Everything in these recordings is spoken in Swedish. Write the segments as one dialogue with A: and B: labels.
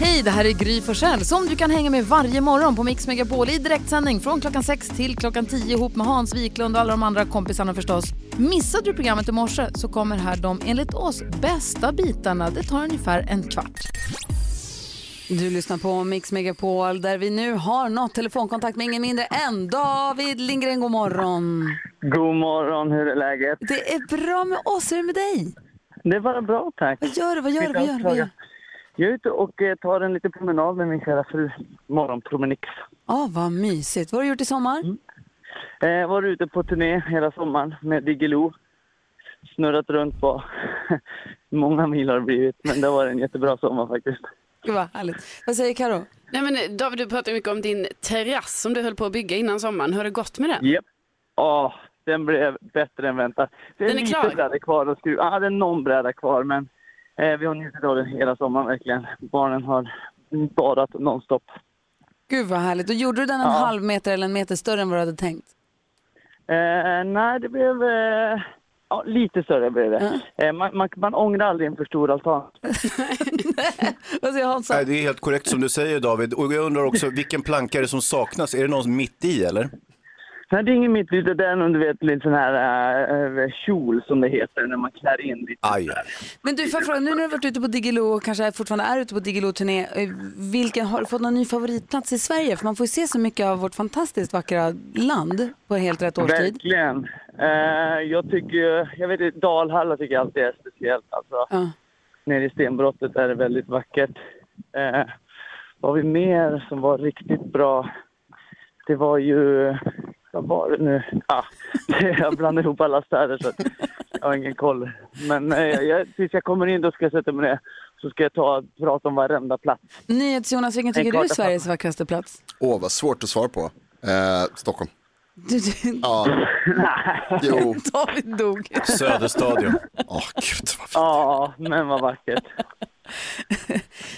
A: Hej, det här är Gry Forssell som du kan hänga med varje morgon på Mix Megapol i direktsändning från klockan 6 till klockan 10 ihop med Hans Wiklund och alla de andra kompisarna förstås. Missade du programmet i morse så kommer här de enligt oss bästa bitarna. Det tar ungefär en kvart.
B: Du lyssnar på Mix Megapol där vi nu har nått telefonkontakt med ingen mindre än David Lindgren. God morgon!
C: God morgon, hur är läget?
B: Det är bra med oss, hur är det med dig?
C: Det är bara bra, tack.
B: Vad gör du? Vad gör du? Vad gör du? Vad gör du?
C: Jag är ute och eh, tar en liten promenad med min kära fru. Morgonpromenix.
B: Åh, vad mysigt. Vad har du gjort i sommar?
C: Eh, var ute på turné hela sommaren med Diggiloo. Snurrat runt på... Många mil har det blivit, men det var en jättebra sommar faktiskt.
B: Gud vad härligt. Vad säger Karo?
D: Nej, men David, du pratar mycket om din terrass som du höll på att bygga innan sommaren. Hur har det gått med den?
C: Japp. Ja, den blev bättre än väntat. Det är,
D: Den är
C: lite
D: klar.
C: bräda kvar att skruva. Ja, det är någon bräda kvar, men eh, vi har njutit av den hela sommaren verkligen. Barnen har badat nonstop.
B: Gud vad härligt. Och gjorde du den en halv meter eller en meter större än vad du hade tänkt?
C: Eh, nej, det blev... Eh, ja, lite större blev det. Eh, man, man, man ångrar aldrig en för stor altan.
B: Vad säger Hansa?
E: Nej, det är helt korrekt som du säger David. Och jag undrar också vilken plankare som saknas. Är det någon mitt i eller?
C: Nej, det är inget mitt ute. Det är någon, du vet, lite sån här eh, kjol som det heter när man klär in lite.
E: Aj, aj.
B: Men du, får jag fråga, nu när du har varit ute på Diggiloo och kanske fortfarande är ute på Diggiloo-turné, eh, vilken, har du fått någon ny favoritplats i Sverige? För man får ju se så mycket av vårt fantastiskt vackra land på helt rätt årstid.
C: Verkligen. Eh, jag tycker ju- jag vet inte, Dalhalla tycker jag alltid är speciellt. Alltså,
B: Ja.
C: Nere i stenbrottet är det väldigt vackert. Eh, vad har vi mer som var riktigt bra? Det var ju... Vad var det nu? Ah, jag blandar ihop alla städer så att jag har ingen koll. Men eh, jag, tills jag kommer in då ska jag sätta mig ner så ska jag ta och prata om varenda plats.
B: NyhetsJonas, vilken tycker du är
C: karta
B: Sveriges vackraste plats?
F: Åh, vad svårt att svara på. Eh, Stockholm.
B: Du, du,
F: Ja. Jo.
B: David dog.
E: Söderstadion.
F: Åh, gud vad fint.
C: Ja, men vad vackert.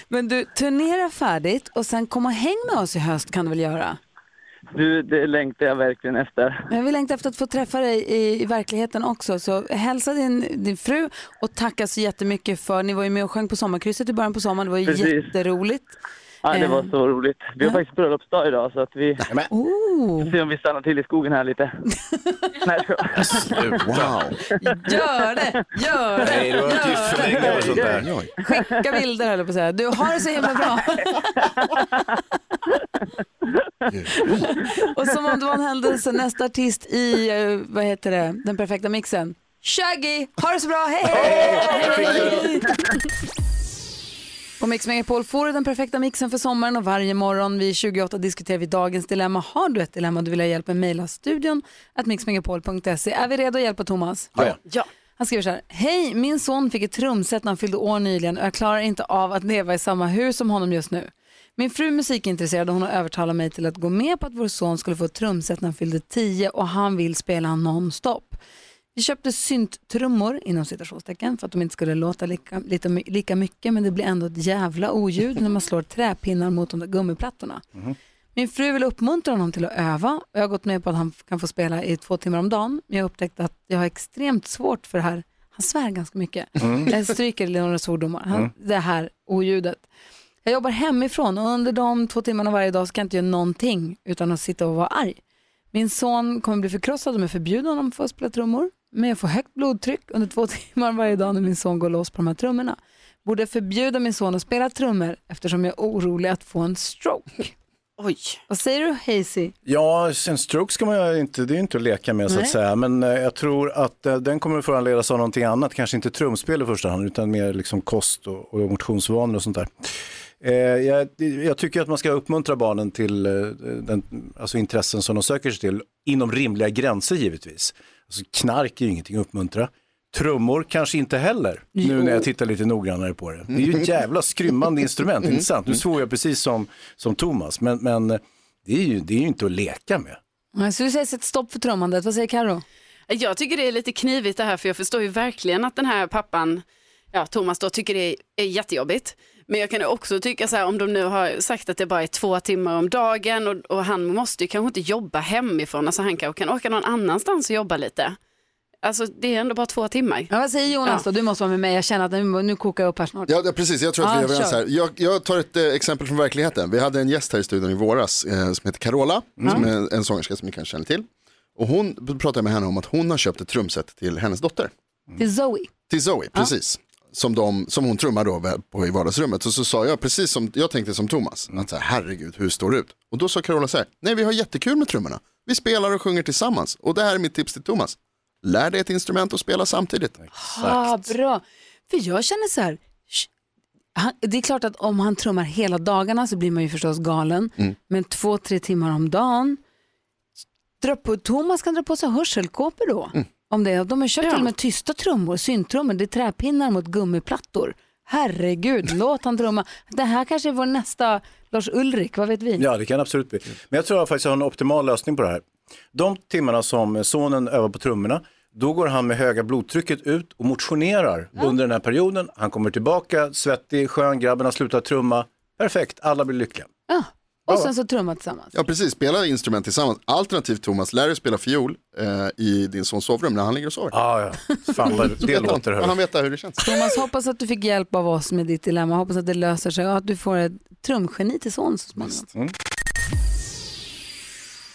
B: Men du, turnera färdigt och sen kom och häng med oss i höst kan du väl göra?
C: Du, det längtar jag verkligen efter.
B: Men vi längtar efter att få träffa dig i, i verkligheten också. Så hälsa din, din fru och tacka så jättemycket för, ni var ju med och sjöng på sommarkrysset i början på sommaren, det var ju
C: Precis.
B: jätteroligt.
C: Ja, det var
B: Eh.
C: så roligt. Vi har faktiskt bröllopsdag idag så att vi
E: Nej, men
B: Oh,
C: ser om vi stannar till i skogen här lite. Nej, jag skojar.
E: sluta.
F: Wow.
B: gör det, gör det!
E: Nej, du har inte gift för länge med sånt där.
F: Oj.
B: Skicka bilder höll jag på att säga. Du har det så himla bra. och som om det var en händelse, nästa artist i, eh, vad heter det, den perfekta mixen. Shaggy, ha det så bra, hej! hej! På Mix Megapol får du den perfekta mixen för sommaren och varje morgon vid 28 diskuterar vi dagens dilemma. Har du ett dilemma du vill ha hjälp med, mejla studion att mixmegapol.se. Är vi redo att hjälpa Thomas?
E: Ja.
D: Ja.
B: Han skriver så här. Hej, min son fick ett trumset när han fyllde år nyligen och jag klarar inte av att leva i samma hus som honom just nu. Min fru är musikintresserad och hon har övertalat mig till att gå med på att vår son skulle få ett trumset när han fyllde 10 och han vill spela nonstop. Vi köpte synttrummor inom citationstecken för att de inte skulle låta lika, lite, my- lika mycket men det blir ändå ett jävla oljud när man slår träpinnar mot de där gummiplattorna. Min fru vill uppmuntra honom till att öva och jag har gått med på att han f- kan få spela i två timmar om dagen. Men jag har upptäckt att jag har extremt svårt för det här. Han svär ganska mycket. Jag stryker några svordomar. Han, Det här oljudet. Jag jobbar hemifrån och under de två timmarna varje dag så kan jag inte göra någonting utan att sitta och vara arg. Min son kommer bli förkrossad om jag förbjuder honom för att spela trummor. Men jag får högt blodtryck under två timmar varje dag när min son går loss på de här trummorna. Borde jag förbjuda min son att spela trummor eftersom jag är orolig att få en stroke?
D: Oj.
B: Vad säger du Hazy?
E: Ja, en stroke ska man ju inte, det är ju inte att leka med så
B: Nej.
E: att säga. Men eh, jag tror att eh, den kommer föranledas av någonting annat. Kanske inte trumspel i första hand, utan mer liksom kost och, och motionsvanor och sånt där. Eh, jag, jag tycker att man ska uppmuntra barnen till eh, den, alltså intressen som de söker sig till, inom rimliga gränser givetvis. Alltså knark är ju ingenting att uppmuntra. Trummor kanske inte heller, nu när jag tittar lite noggrannare på det. Det är ju ett jävla skrymmande instrument, inte sant? Nu svor jag precis som, som Thomas, men, men det, är ju, det är ju inte att leka med.
B: Nej, Så du säger ett stopp för trummandet. Vad säger Karo?
D: Jag tycker det är lite knivigt det här för jag förstår ju verkligen att den här pappan, ja Thomas då, tycker det är jättejobbigt. Men jag kan också tycka så här om de nu har sagt att det bara är två timmar om dagen och, och han måste ju kanske inte jobba hemifrån, alltså han kan, kan åka någon annanstans och jobba lite. Alltså det är ändå bara två timmar.
B: Ja, vad säger Jonas då? Du måste vara med mig. Jag känner att nu, nu kokar jag upp här snart.
F: Ja, det- precis. Jag tror att vi är
B: Ja,
F: överens
B: kör.
F: här. Jag, jag tar ett eh, exempel från verkligheten. Vi hade en gäst här i studion i våras eh, som heter Carola,
B: Mm.
F: som är en, en sångerska som ni kanske känner till. Och hon då pratade jag med henne om att hon har köpt ett trumset till hennes dotter,
B: Till Zoe.
F: till Zoe, precis. Som, de, som hon trummar då väl på i vardagsrummet. Så, så sa jag, precis som jag tänkte som Thomas,
E: Mm.
F: att så här, herregud, hur står det ut? Och då sa Carola så här, nej vi har jättekul med trummorna. Vi spelar och sjunger tillsammans. Och det här är mitt tips till Thomas. Lär dig ett instrument och spela samtidigt.
B: Ah, bra. För jag känner så här, sh- han, det är klart att om han trummar hela dagarna så blir man ju förstås galen. Men två, tre timmar om dagen, dra på, Thomas kan dra på sig hörselkåpor då. Om det, är- de har köpt till och med tysta trummor, syntrummor, det är träpinnar mot gummiplattor. Herregud, låt han trumma. Det här kanske är vår nästa Lars Ulrik, vad vet vi?
E: Ja, det kan absolut bli. Men jag tror jag faktiskt har en optimal lösning på det här. De timmarna som sonen övar på trummorna, då går han med höga blodtrycket ut och motionerar under den här perioden. Han kommer tillbaka, svettig, skön, grabben har slutat trumma. Perfekt, alla blir lyckliga.
B: Ja. Och sen så trumma tillsammans.
F: Ja precis, spela instrument tillsammans. Alternativt Thomas, lär dig spela fiol eh, i din sons sovrum när han ligger och sover.
E: Ah, ja, fan vad det låter.
F: Han, han
E: Hörru.
F: vet hur det känns.
B: Thomas, hoppas att du fick hjälp av oss med ditt dilemma. Hoppas att det löser sig och att du får ett trumgeni till son så småningom.
E: Mm.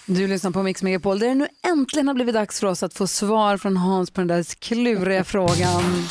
B: Du lyssnar på Mix Megapol där det nu äntligen har blivit dags för oss att få svar från Hans på den där kluriga frågan.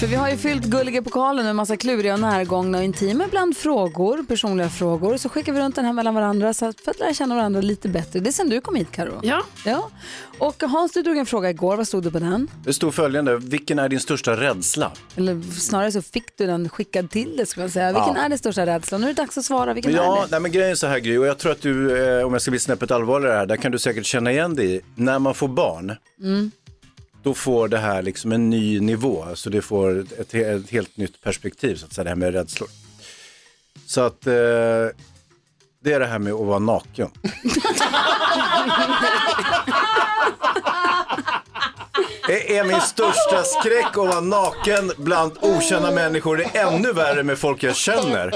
B: För vi har ju fyllt gulliga pokalen med massa kluriga, närgångna och intima ibland frågor, personliga frågor. Så skickar vi runt den här mellan varandra så att för att lära känna varandra lite bättre. Det är sen du kom hit Karo.
D: Ja.
B: ja. Och Hans, du drog en fråga igår. Vad stod det på den?
E: Det stod följande, vilken är din största rädsla?
B: Eller snarare så fick du den skickad till dig skulle jag säga. Vilken är den största rädslan? Nu är det dags att svara. Vilken
E: Ja,
B: är det?
E: nej, men grejen är så här Gry, och jag tror att du, eh, om jag ska bli snäppet allvarligare här, där kan du säkert känna igen dig i. När man får barn, då får det här liksom en ny nivå, så det får ett, he- ett helt nytt perspektiv, så att säga, det här med rädslor. Så att eh, det är det här med att vara naken. Det är min största skräck att vara naken bland okända människor. Det är ännu värre med folk jag känner.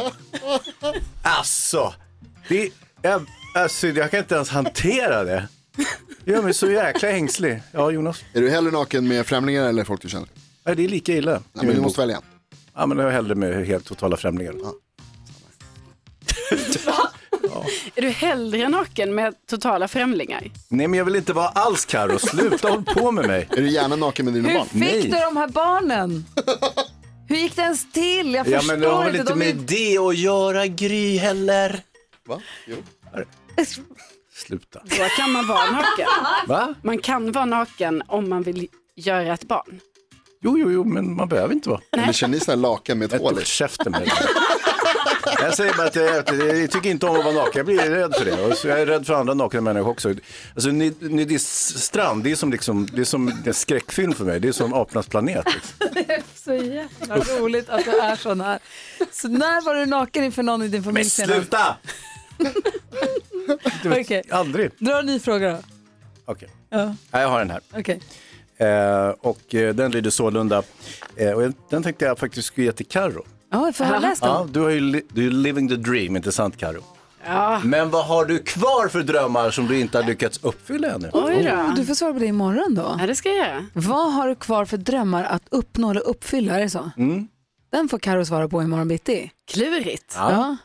E: Alltså, det, jag, alltså, jag kan inte ens hantera det. Det gör mig så jäkla ängslig. Ja, Jonas.
F: Är du hellre naken med främlingar eller folk du känner?
E: Nej, det är lika illa.
F: Nej, men du måste välja.
E: Ja, men jag är hellre med helt totala främlingar.
D: Är du hellre naken med totala främlingar?
E: Nej, men jag vill inte vara alls Karo. Sluta håll på med mig.
F: Är du gärna naken med dina
B: Hur
F: barn?
B: fick
E: Nej.
B: du de här barnen? Hur gick det ens till? Jag
E: Ja,
B: förstår
E: men det har väl
B: inte.
E: inte
B: De är
E: med
B: ju-
E: det att göra, Gry, heller.
F: Va? Jo.
E: Sluta.
D: Då kan man vara naken.
E: Va?
D: Man kan vara naken om man vill göra ett barn.
E: Jo, jo, jo, men man behöver inte vara.
F: Eller känner ni sådana här lakan med ett hål
E: Håll
F: i?
E: i käften med dig. Jag säger bara att jag, jag, jag tycker inte om att vara naken, jag blir rädd för det. Och så jag är rädd för andra nakna människor också. Alltså nyd- nudiststrand, det är som, liksom, det är som en skräckfilm för mig, det är som apornas planet. Liksom.
B: Så jävla roligt att du är sån här. Så när var du naken inför någon i din familj senast? Okej.
E: Aldrig.
B: Dra en ny fråga då.
E: Okej,
B: Ja,
E: Nej, jag har den här.
B: okej.
E: Eh, och eh, den lyder sålunda, eh, och jag- den tänkte jag faktiskt skulle ge till Carro.
B: Ja, får jag läsa den?
E: Ja, du, har ju li- du är living the dream, inte sant Carro? Men vad har du kvar för drömmar som du inte har lyckats uppfylla ännu?
D: Oj då.
B: Du får svara på det imorgon då.
D: Ja, det ska jag göra.
B: Vad har du kvar för drömmar att uppnå eller uppfylla? Är det så?
E: Mm.
B: Den får Karo svara på imorgon bitti.
D: Klurigt.
E: Ja.
B: Ja.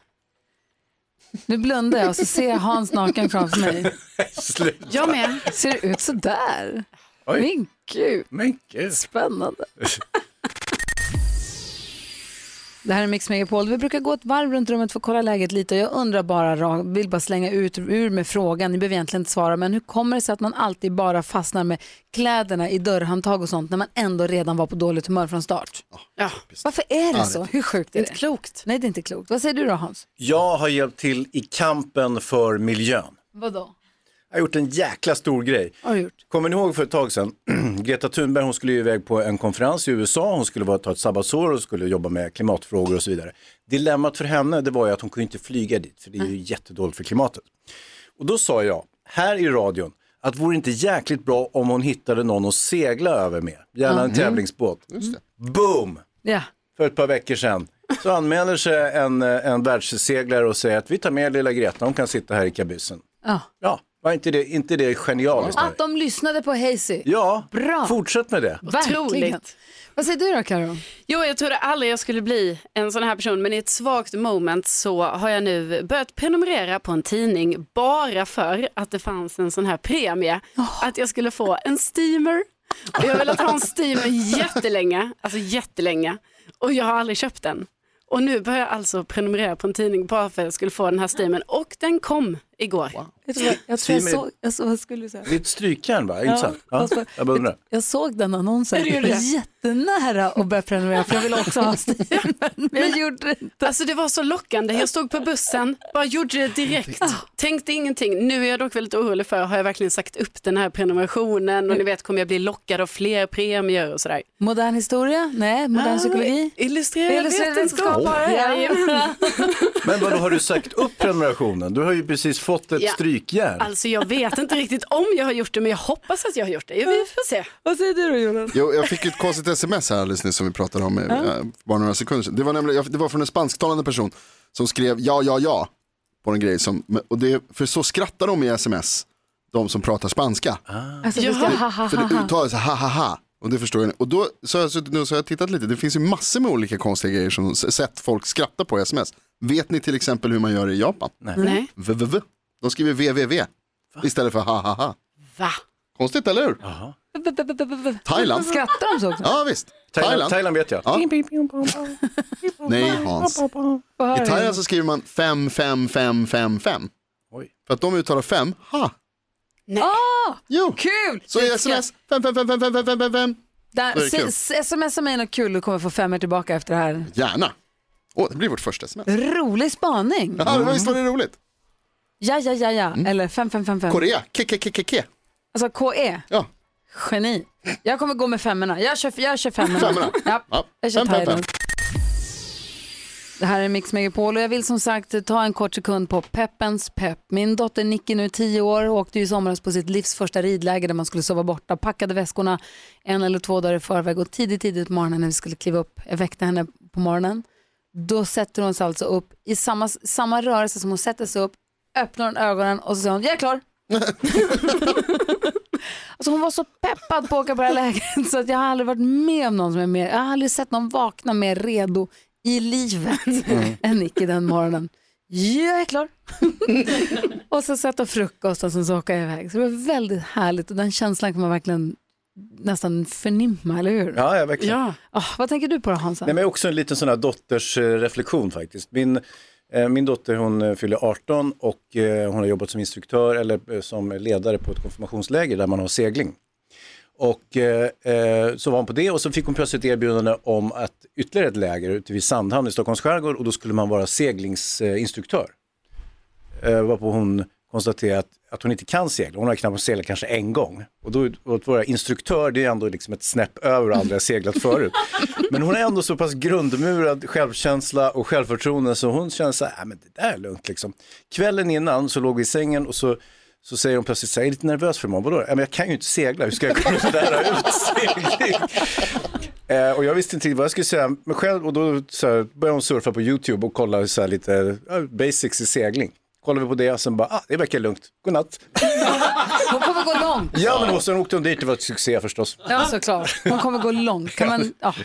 B: Nu blundar jag och så ser jag Hans naken framför mig.
E: Sluta.
D: Jag med.
B: Ser det ut så där?
E: Oj.
B: Min gud,
E: Men gud.
B: spännande. Det här är Mix Megapol. Vi brukar gå ett varv runt rummet för att kolla läget lite. Jag undrar bara, ra- vill bara slänga ut ur med frågan. Ni behöver egentligen inte svara, men hur kommer det sig att man alltid bara fastnar med kläderna i dörrhandtag och sånt när man ändå redan var på dåligt humör från start?
D: Ja.
B: Varför är det så? Hur sjukt är det?
D: Klokt.
B: Nej, det är inte klokt. Vad säger du då, Hans?
E: Jag har hjälpt till i kampen för miljön.
B: Vadå?
E: Jag har gjort en jäkla stor grej.
B: Har du gjort?
E: Kommer ni ihåg för ett tag sedan? Greta Thunberg hon skulle ju iväg på en konferens i USA. Hon skulle vara, ta ett sabbatsår och skulle jobba med klimatfrågor och så vidare. Dilemmat för henne det var ju att hon kunde inte flyga dit för det är ju jättedåligt för klimatet. Och då sa jag här i radion att vore det inte jäkligt bra om hon hittade någon att
B: Mm.
E: segla över med. Gärna en tävlingsbåt. Boom!
B: Ja.
E: För ett par veckor sedan. Så anmäler sig en, eh, en världsseglare och säger att vi tar med lilla Greta, hon kan sitta här i kabyssen.
B: Ja.
E: Ja, var inte det, inte det genialiskt?
B: Att de lyssnade på Hazy.
E: Ja,
B: Bra.
E: fortsätt med det.
B: Verkligen.
D: Otroligt.
B: Vad säger du då Karo?
D: Jo, jag trodde aldrig jag skulle bli en sån här person, men i ett svagt moment så har jag nu börjat prenumerera på en tidning bara för att det fanns en sån här premie, att jag skulle få en steamer. Och jag har velat ha en steamer jättelänge, alltså jättelänge, och jag har aldrig köpt den. Och nu börjar jag alltså prenumerera på en tidning bara för att jag skulle få den här steamern, och den kom igår.
B: Jag tror jag, jag, tror jag
E: Simon.
B: såg, jag såg, vad skulle du säga?
E: Ditt strykjärn va? Inte sant? Ja,
B: fast-
E: jag bara undrar.
B: Jag såg den annonsen. Jag var jättenära att börja prenumerera för jag ville också ha Steven. Men jag gjorde det inte.
D: Alltså det var så lockande. Jag stod på bussen, bara gjorde det direkt. Tänkte ingenting. Nu är jag dock väldigt orolig för, har jag verkligen sagt upp den här prenumerationen och ni vet, kommer jag bli lockad av fler premier och sådär. Ah,
B: Modern historia? Nej, modern psykologi?
D: Illustrerad
B: Illustrerad
D: vetenskap.
B: vetenskap.
D: Oh, Jajamän.
E: Men vadå, har du sagt upp prenumerationen? Du har ju precis fått ett
D: Ja.
E: strykjärn.
D: Alltså jag vet inte riktigt om jag har gjort det, men jag hoppas att jag har gjort det. Vi får se.
B: Vad säger du då Jonas?
F: Jo, jag fick ju ett konstigt sms här alldeles nyss som vi pratade om eh, för bara några sekunder sedan. Det var, nämligen, det var från en spansktalande person som skrev ja, ja, ja på en grej. Som, och det, för så skrattar de i sms, de som pratar spanska.
B: Alltså, vi ska,
D: Jaha.
B: ha, ha,
F: För
B: ha,
F: det
B: ha.
F: uttalas ha ha ha. Och det förstår jag. Och då så har jag, suttit nu, så har jag tittat lite. Det finns ju massor med olika konstiga grejer som sett folk skratta på i sms. Vet ni till exempel hur man gör det i Japan?
B: Mm.
D: Nej.
F: Vvv. De skriver vvv istället för ha ha ha.
D: Va?
F: Konstigt eller hur? Thailand.
B: Skrattar de så också?
F: Ja visst.
E: Thailand.
F: Thailand.
E: Thailand vet jag.
F: Ja. Nej Hans.
B: Vad
F: I
B: har du?
F: Thailand så skriver man 5, 5, 5, 5, 5.
E: Oj.
F: För att de uttalar 5, ha.
D: Nej.
F: Jo.
B: Kul!
F: Så i sms, 5, 5, 5, 5, 5, 5, 5, 5.
B: Där,
F: Då är det kul.
B: s- s- smsa mig något kul, du kommer få fem er tillbaka efter det här.
F: Gärna. Åh, det blir vårt första sms.
B: Rolig spaning.
F: Ja, Mm. det var visst var det roligt.
B: Ja, ja, ja, ja. Eller 5555.
F: Korea, ke, ke, ke, ke, ke.
B: Alltså KE.
F: Ja,
B: Geni. Jag kommer gå med femmorna. Jag kör, jag kör femmorna.
F: Femmorna.
B: Ja,
F: Ja,
B: Jag kör
F: fem, fem,
B: Thailand. Det här är Mix Megapol och jag vill som sagt ta en kort sekund på peppens pepp. Min dotter Nicky nu 10 år åkte ju i somras på sitt livs första ridläger där man skulle sova borta, packade väskorna en eller två dagar i förväg och tidigt, tidigt på morgonen när vi skulle kliva upp, jag väckte henne på morgonen, då sätter hon sig alltså upp i samma, samma rörelse som hon sätter sig upp, öppnar hon ögonen och så säger hon, jag är klar. Alltså hon var så peppad på att åka på det här lägret så att jag har aldrig varit med om någon som är mer, jag har aldrig sett någon vakna mer redo i livet
E: Mm.
B: än Nicky den morgonen. Jag är klar. och så sätta frukost och sen så åka iväg. Så det var väldigt härligt och den känslan kan man verkligen nästan förnimma, eller hur?
E: Ja, ja, verkligen.
D: Ja.
B: Ah, vad tänker du på då Hansa?
E: Nej, men också en liten sån här dotters eh, reflektion faktiskt. Min, eh, min dotter hon eh, fyller 18 och eh, hon har jobbat som instruktör eller eh, som ledare på ett konfirmationsläger där man har segling. Och eh, eh, så var hon på det och så fick hon plötsligt erbjudande om att ytterligare ett läger ute vid Sandhamn i Stockholms skärgård och då skulle man vara seglingsinstruktör. Eh, varpå hon konstaterade att, att hon inte kan segla. Hon har knappt seglat kanske en gång. Och då och att vara instruktör, det är ändå liksom ett snäpp över och aldrig har seglat förut. Men hon har ändå så pass grundmurad självkänsla och självförtroende så hon känner så här, "Nej, men det där är lugnt liksom. Kvällen innan så låg vi i sängen och så så säger hon plötsligt, så här, jag är lite nervös för imorgon, vadå? Ja, men jag kan ju inte segla, hur ska jag kunna lära ut segling? Eh, och jag visste inte riktigt vad jag skulle säga, men själv, och då så här, började hon surfa på YouTube och kolla så här, lite ja, basics i segling. Kollar vi på det och sen bara, ah, det verkar lugnt, godnatt.
B: Hon kommer gå långt.
E: Ja men och sen åkte hon dit, det var ett succé förstås.
B: Ja, såklart. Hon kommer gå långt. Kan man, ja.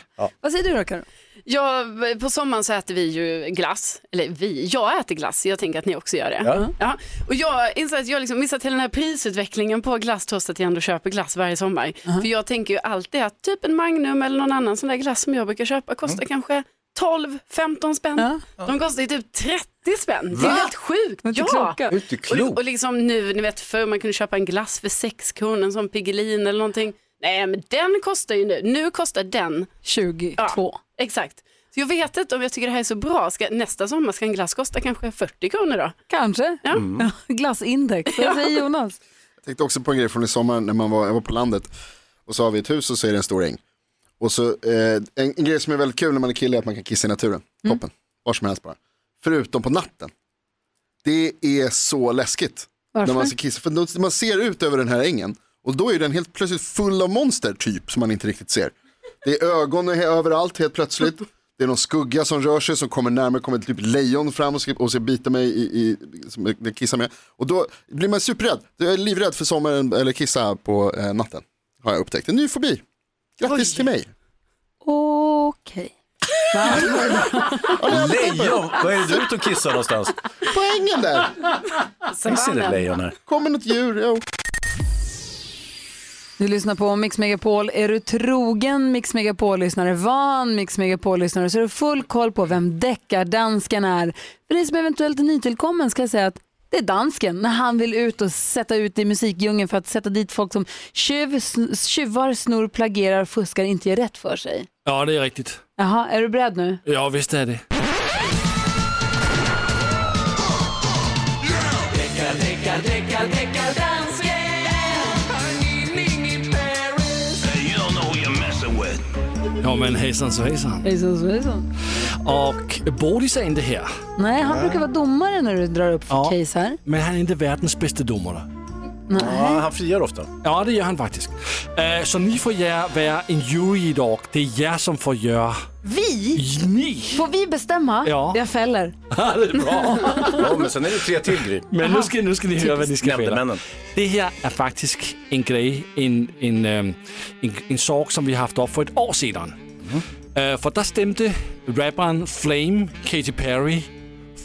B: Vad säger du då Karo?
D: Ja, på sommaren så äter vi ju glass. Eller vi, jag äter glass. Jag tänker att ni också gör det.
E: Ja.
D: Ja. Och jag inser att jag liksom missat hela den här prisutvecklingen på glass trots att jag ändå köper glass varje sommar. För jag tänker ju alltid att typ en Magnum eller någon annan sån där glass som jag brukar köpa kostar
B: Mm.
D: kanske 12-15 spänn. De kostar ju typ 30 spänn. Det är helt sjukt.
B: Men inte
D: Ja.
B: kloka.
E: Det är inte
D: Och,
E: klokt.
D: och liksom nu, ni vet förr man kunde köpa en glass för 6 kronor, en sån Piggelin eller någonting. Nej men den kostar ju nu, nu kostar den
B: 22.
D: Ja, exakt. Så jag vet inte om jag tycker det här är så bra. Ska, nästa sommar ska en glass kosta kanske 40 kronor då.
B: Kanske.
E: Mm.
B: Glassindex. Vad säger Jonas?
F: Jag tänkte också på en grej från i sommar när man var, jag var på landet. Och så har vi ett hus och så är det en stor äng. Och så, eh, en, en grej som är väldigt kul när man är kille är att man kan kissa i naturen. Toppen. Var som helst bara. Förutom på natten. Det är så läskigt. När man ska kissa. För då, man ser ut över den här ängen. Och då är den helt plötsligt full av monster typ som man inte riktigt ser. Det är ögon överallt helt plötsligt. det är någon skugga som rör sig som kommer närmare, kommer typ lejon fram och ska, och ska bita mig i, i som jag- jag kissar med. Och då blir man superrädd. Jag är livrädd för sommaren eller kissa på eh, natten. Har jag upptäckt. En ny fobi. Grattis till mig.
B: Okej.
E: Lejon, vad är det du är ute och kissar någonstans?
F: Poängen där.
E: Finns inte lejon här?
F: Kommer något djur. Jo.
B: Du lyssnar på Mix Megapol. Är du trogen Mix Megapol-lyssnare, van Mix Megapol-lyssnare så har du full koll på vem deckardansken är. För dig som eventuellt är nytillkommen ska jag säga att det är dansken när han vill ut och sätta ut i musikdjungeln för att sätta dit folk som tjuv, sn- tjuvar, snor, plagierar, fuskar, inte gör rätt för sig.
G: Ja, det är riktigt.
B: Jaha, är du beredd nu?
G: Ja, visst är det. Ja men hejsan svejsan.
B: Hejsan svejsan.
G: Och Bodis är inte här.
B: Nej, han brukar vara domare när du drar upp
G: Ja.
B: case här.
G: Men han är inte världens bästa domare.
E: Ja, han friar ofta.
G: Ja det gör han faktiskt. Eh, så ni får gärna vara en jury idag. Det är jag som får göra.
B: Vi?
G: Ni!
B: Får vi bestämma?
G: Ja.
B: Jag fäller.
G: Ja, det är bra.
E: Ja, men sen är det tre till Gry.
G: Men nu ska, nu ska ni höra vad ni ska fälla.
E: Nämndemännen.
G: Det här är faktiskt en grej, en, en, ehm, en, en sak som vi har haft upp för ett år sedan. Eh, för där stämde rapparen Flame, Katy Perry,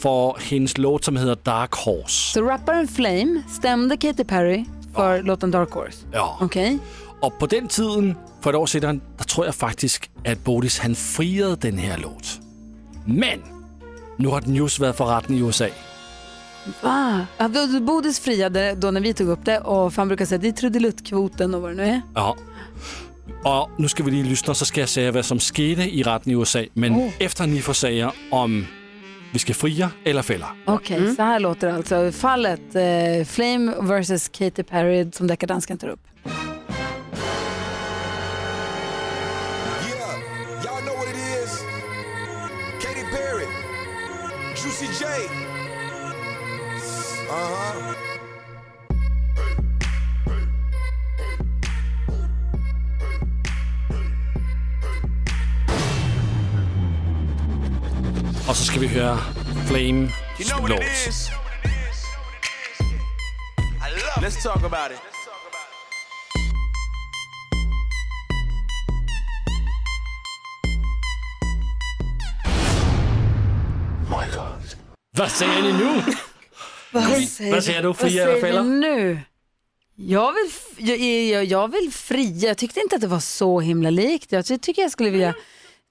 G: för hennes låt som heter Dark Horse.
B: Så rapparen Flame stämde Katy Perry för låten Dark Horse.
G: Ja.
B: Okej.
G: Och på den tiden, för ett år sedan, der tror jag faktisk, at Bodis han friede den her låt. Men nu har den just været for retten i USA.
B: Ah, ja, då- då Bodis friade då när vi tog upp det och för han brukar säga det är trudeluttkvoten och vad det nu är.
G: Ja. Og nu skal vi lige lytte, og så skal jeg sige, hvad som skete i retten i USA. Men efter ni får sager om, vi skal frier eller fælder.
B: Okej, Mm. så här låter det alltså. Fallet eh, Flame vs Katy Perry som deckardansken tar upp.
H: Yeah, y'all know what it is. Katy Perry, Juicy J. Uh huh.
G: Og så skal vi høre Flame
H: You know what it
G: låt.
H: is. I love it. Let's talk about it.
G: Hvad siger ni nu? Gry, hvad siger du? Frier eller
B: vi
G: fælder?
B: nu? Jag vill, f- jag, jag, jag vill fria. Jag tyckte inte att det var så himla likt. Jag ty- tycker jag skulle vilja...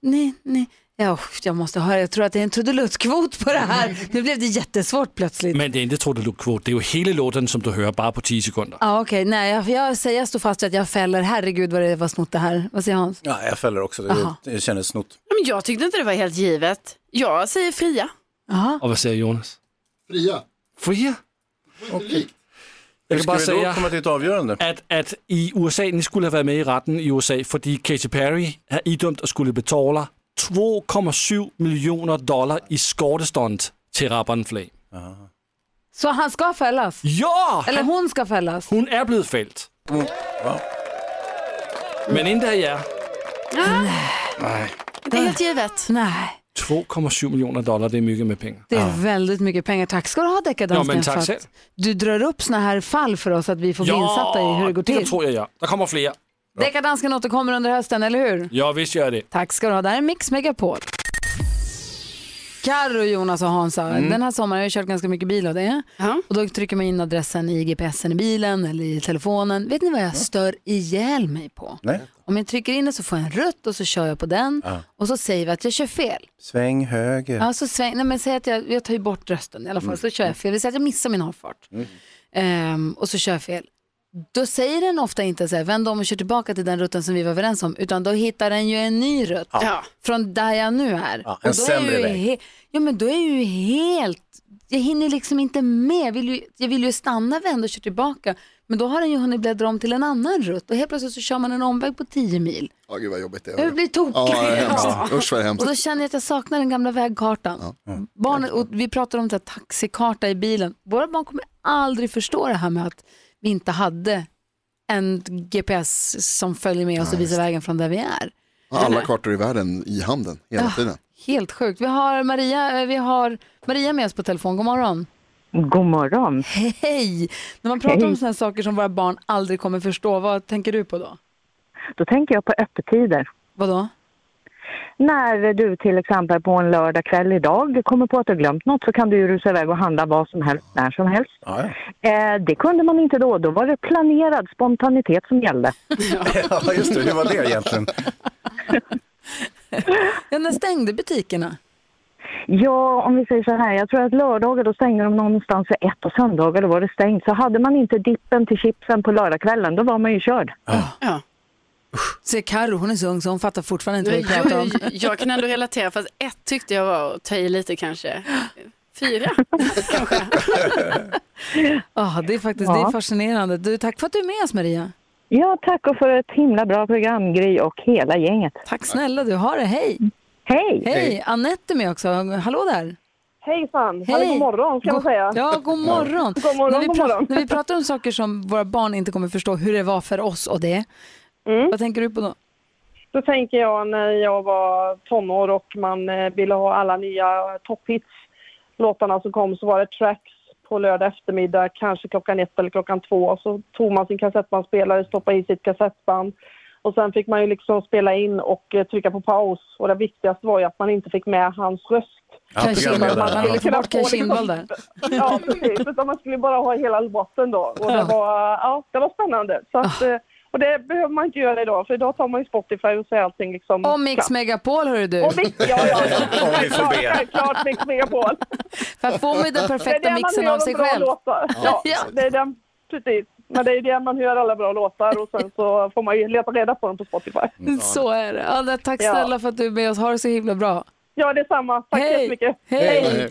B: Nej, nej. Ja, usch, jag måste höra. Jag tror att det är en trudeluttkvot på det här. Nu blev det jättesvårt plötsligt.
G: Men det er ikke Trudeluk-kvot. Det er jo hele låten, som du hører, bare på 10 sekunder.
B: Ja, okej. Nej, jag, jag, säger, jag står fast vid att jag fäller. Herregud vad det var snott det här. Vad säger Hans?
E: Ja, jag fäller också.
B: Aha.
E: Det, det kändes snott.
D: Men jag tyckte inte det var helt givet. Jag säger fria.
G: Og hvad siger Jonas?
F: Fria.
G: Frier?
F: Okay.
G: Jeg
E: Hur
G: kan
E: ska
G: bare
E: vi då
G: sige,
E: komma till ett avgörande?
G: at, at i USA, ni skulle have været med i retten i USA, fordi Katy Perry er idømt at skulle betale 2,7 millioner dollar i skortestunt til rapperen Flame.
B: Så han ska fällas?
G: Ja!
B: Eller hon ska fällas?
G: Hun er blevet fældt. Men inden der er
D: Det är helt givet.
B: Nej,
G: 2,7 millioner dollar, det er mygge med penge.
B: det är väldigt mycket pengar. Tack ska du ha deckardansken
G: Ja, men tack
B: för att
G: själv.
B: Du drar upp såna här fall för oss att vi får bli insatta i hur det går
G: det
B: till.
G: tror jeg, ja. Der kommer flere.
B: Deckardansken återkommer under hösten, eller hur?
G: Ja, visst gör det.
B: Tack ska du ha. Det här är Mix Megapol. Karro, Jonas och Hansa. Den här sommaren har jag kört ganska mycket bil och det.
D: Ja.
B: Och då trycker man in adressen i GPSen i bilen eller i telefonen. Vet ni vad jag stör ihjäl mig på?
E: Nej.
B: Om jag trycker in det så får jag en rutt och så kör jag på den och så säger vi att jag kör fel.
E: Sväng höger.
B: Ja, så sväng, nej, men säg att jag, jag tar ju bort rösten i alla fall, så kör jag fel. Vi säger att jag missar min avfart Ehm, och så kör jag fel. Då säger den ofta inte så här, vänd om och kör tillbaka till den rutten som vi var överens om, utan då hittar den ju en ny rutt
D: Ja.
B: från där jag nu är.
E: Ja,
B: Och
E: en
B: då är
E: sämre
B: jag ju
E: väg.
B: he- ja, men då är jag ju helt... Jag hinner liksom inte med. Jag vill ju, jag vill ju stanna, vända och köra tillbaka. Men då har den ju hunnit bläddra om till en annan rutt och helt plötsligt så kör man en omväg på 10 mil.
F: Ja, gud vad jobbigt det
B: Jag
F: är.
B: blir tokig.
F: Ja, det är hemskt. Usch vad det är hemskt.
B: Och då känner jag att jag saknar den gamla vägkartan. Barnen, och vi pratar om så här taxikarta i bilen. Våra barn kommer aldrig förstå det här med att vi inte hade en GPS som följer med oss och visar vägen från där vi är.
F: Alla kartor i världen i handen hela tiden.
B: Helt sjukt. Vi har Maria, eh, vi har Maria med oss på telefon. God morgon.
I: God morgon.
B: Hej! När man pratar om sådana här saker som våra barn aldrig kommer förstå, vad tänker du på då?
I: Då tänker jag på öppettider.
B: Vadå?
I: När du till exempel på en lördagkväll idag kommer på att du har glömt något så kan du ju rusa iväg och handla vad som helst när som helst.
E: Ja, ja.
I: Eh, det kunde man inte då. Då var det planerad spontanitet som gällde.
E: ja, just det. Hur var det egentligen?
B: Ja, när stängde butikerna?
I: Ja, om vi säger så här. Jag tror att lördagar då stängde de någonstans vid ett och söndagar då var det stängt. Så hade man inte dippen till chipsen på lördagskvällen då var man ju körd.
D: Ja.
B: Se Karo, hon är så ung så hon fattar fortfarande inte vad vi pratar
D: Jag,
B: om.
D: jag, jag kan ändå relatera, fast ett tyckte jag var att ta i lite kanske. Fyra kanske.
B: Ah, det är faktiskt det är
I: Ja.
B: fascinerande. Du, tack för att du är med oss Maria.
I: Ja, tack och för ett himla bra program Gry och hela gänget.
B: Tack snälla du, ha det, hej!
I: Hej!
B: Hej, Anette är med också. Hallå där!
J: Hejsan,
B: Hej.
J: eller god morgon kan man säga.
B: Ja, god morgon.
J: God morgon,
B: när, vi
J: god
B: pra-
J: morgon.
B: när vi pratar om saker som våra barn inte kommer förstå hur det var för oss och det, vad tänker du på då?
J: Mm. Då tänker jag när jag var tonår och man eh, ville ha alla nya eh, topphits. Låtarna som kom så var det tracks på lördag eftermiddag, kanske klockan ett eller klockan två. Så tog man sin kassettbandspelare, stoppade i sitt kassettband. Och sen fick man ju liksom spela in och eh, trycka på paus. Och det viktigaste var ju att man inte fick med hans röst.
E: Ja,
B: Kaj Kindvall,
E: programledare,
B: man ville ta
E: ja.
B: bort Kaj
J: Kunna få
B: Kindvall där.
J: Ja, precis. Utan man skulle bara ha hela botten då. Och det var, ja, det var spännande. Så att, eh, och det behöver man inte göra idag, för idag tar man ju Spotify och så är allting liksom...
B: Och Mix Megapol hörru du.
J: Och Mix, ja, ja.
E: Om vi får be.
J: Självklart Mix Megapol.
B: För att få mig den
J: Det är
B: perfekta
J: där man
B: mixen
J: hör
B: av
J: de
B: sig
J: bra
B: själv.
J: låtar. Ja,
B: Ja.
J: det är den, precis. Men det är där man hör alla bra låtar och sen så får man ju leta reda på dem på Spotify.
B: Så är det. Anna, tack
J: Ja.
B: snälla för att du är med oss. Ha det så himla bra.
J: Ja, det är samma. Tack så jättemycket.
B: Hej!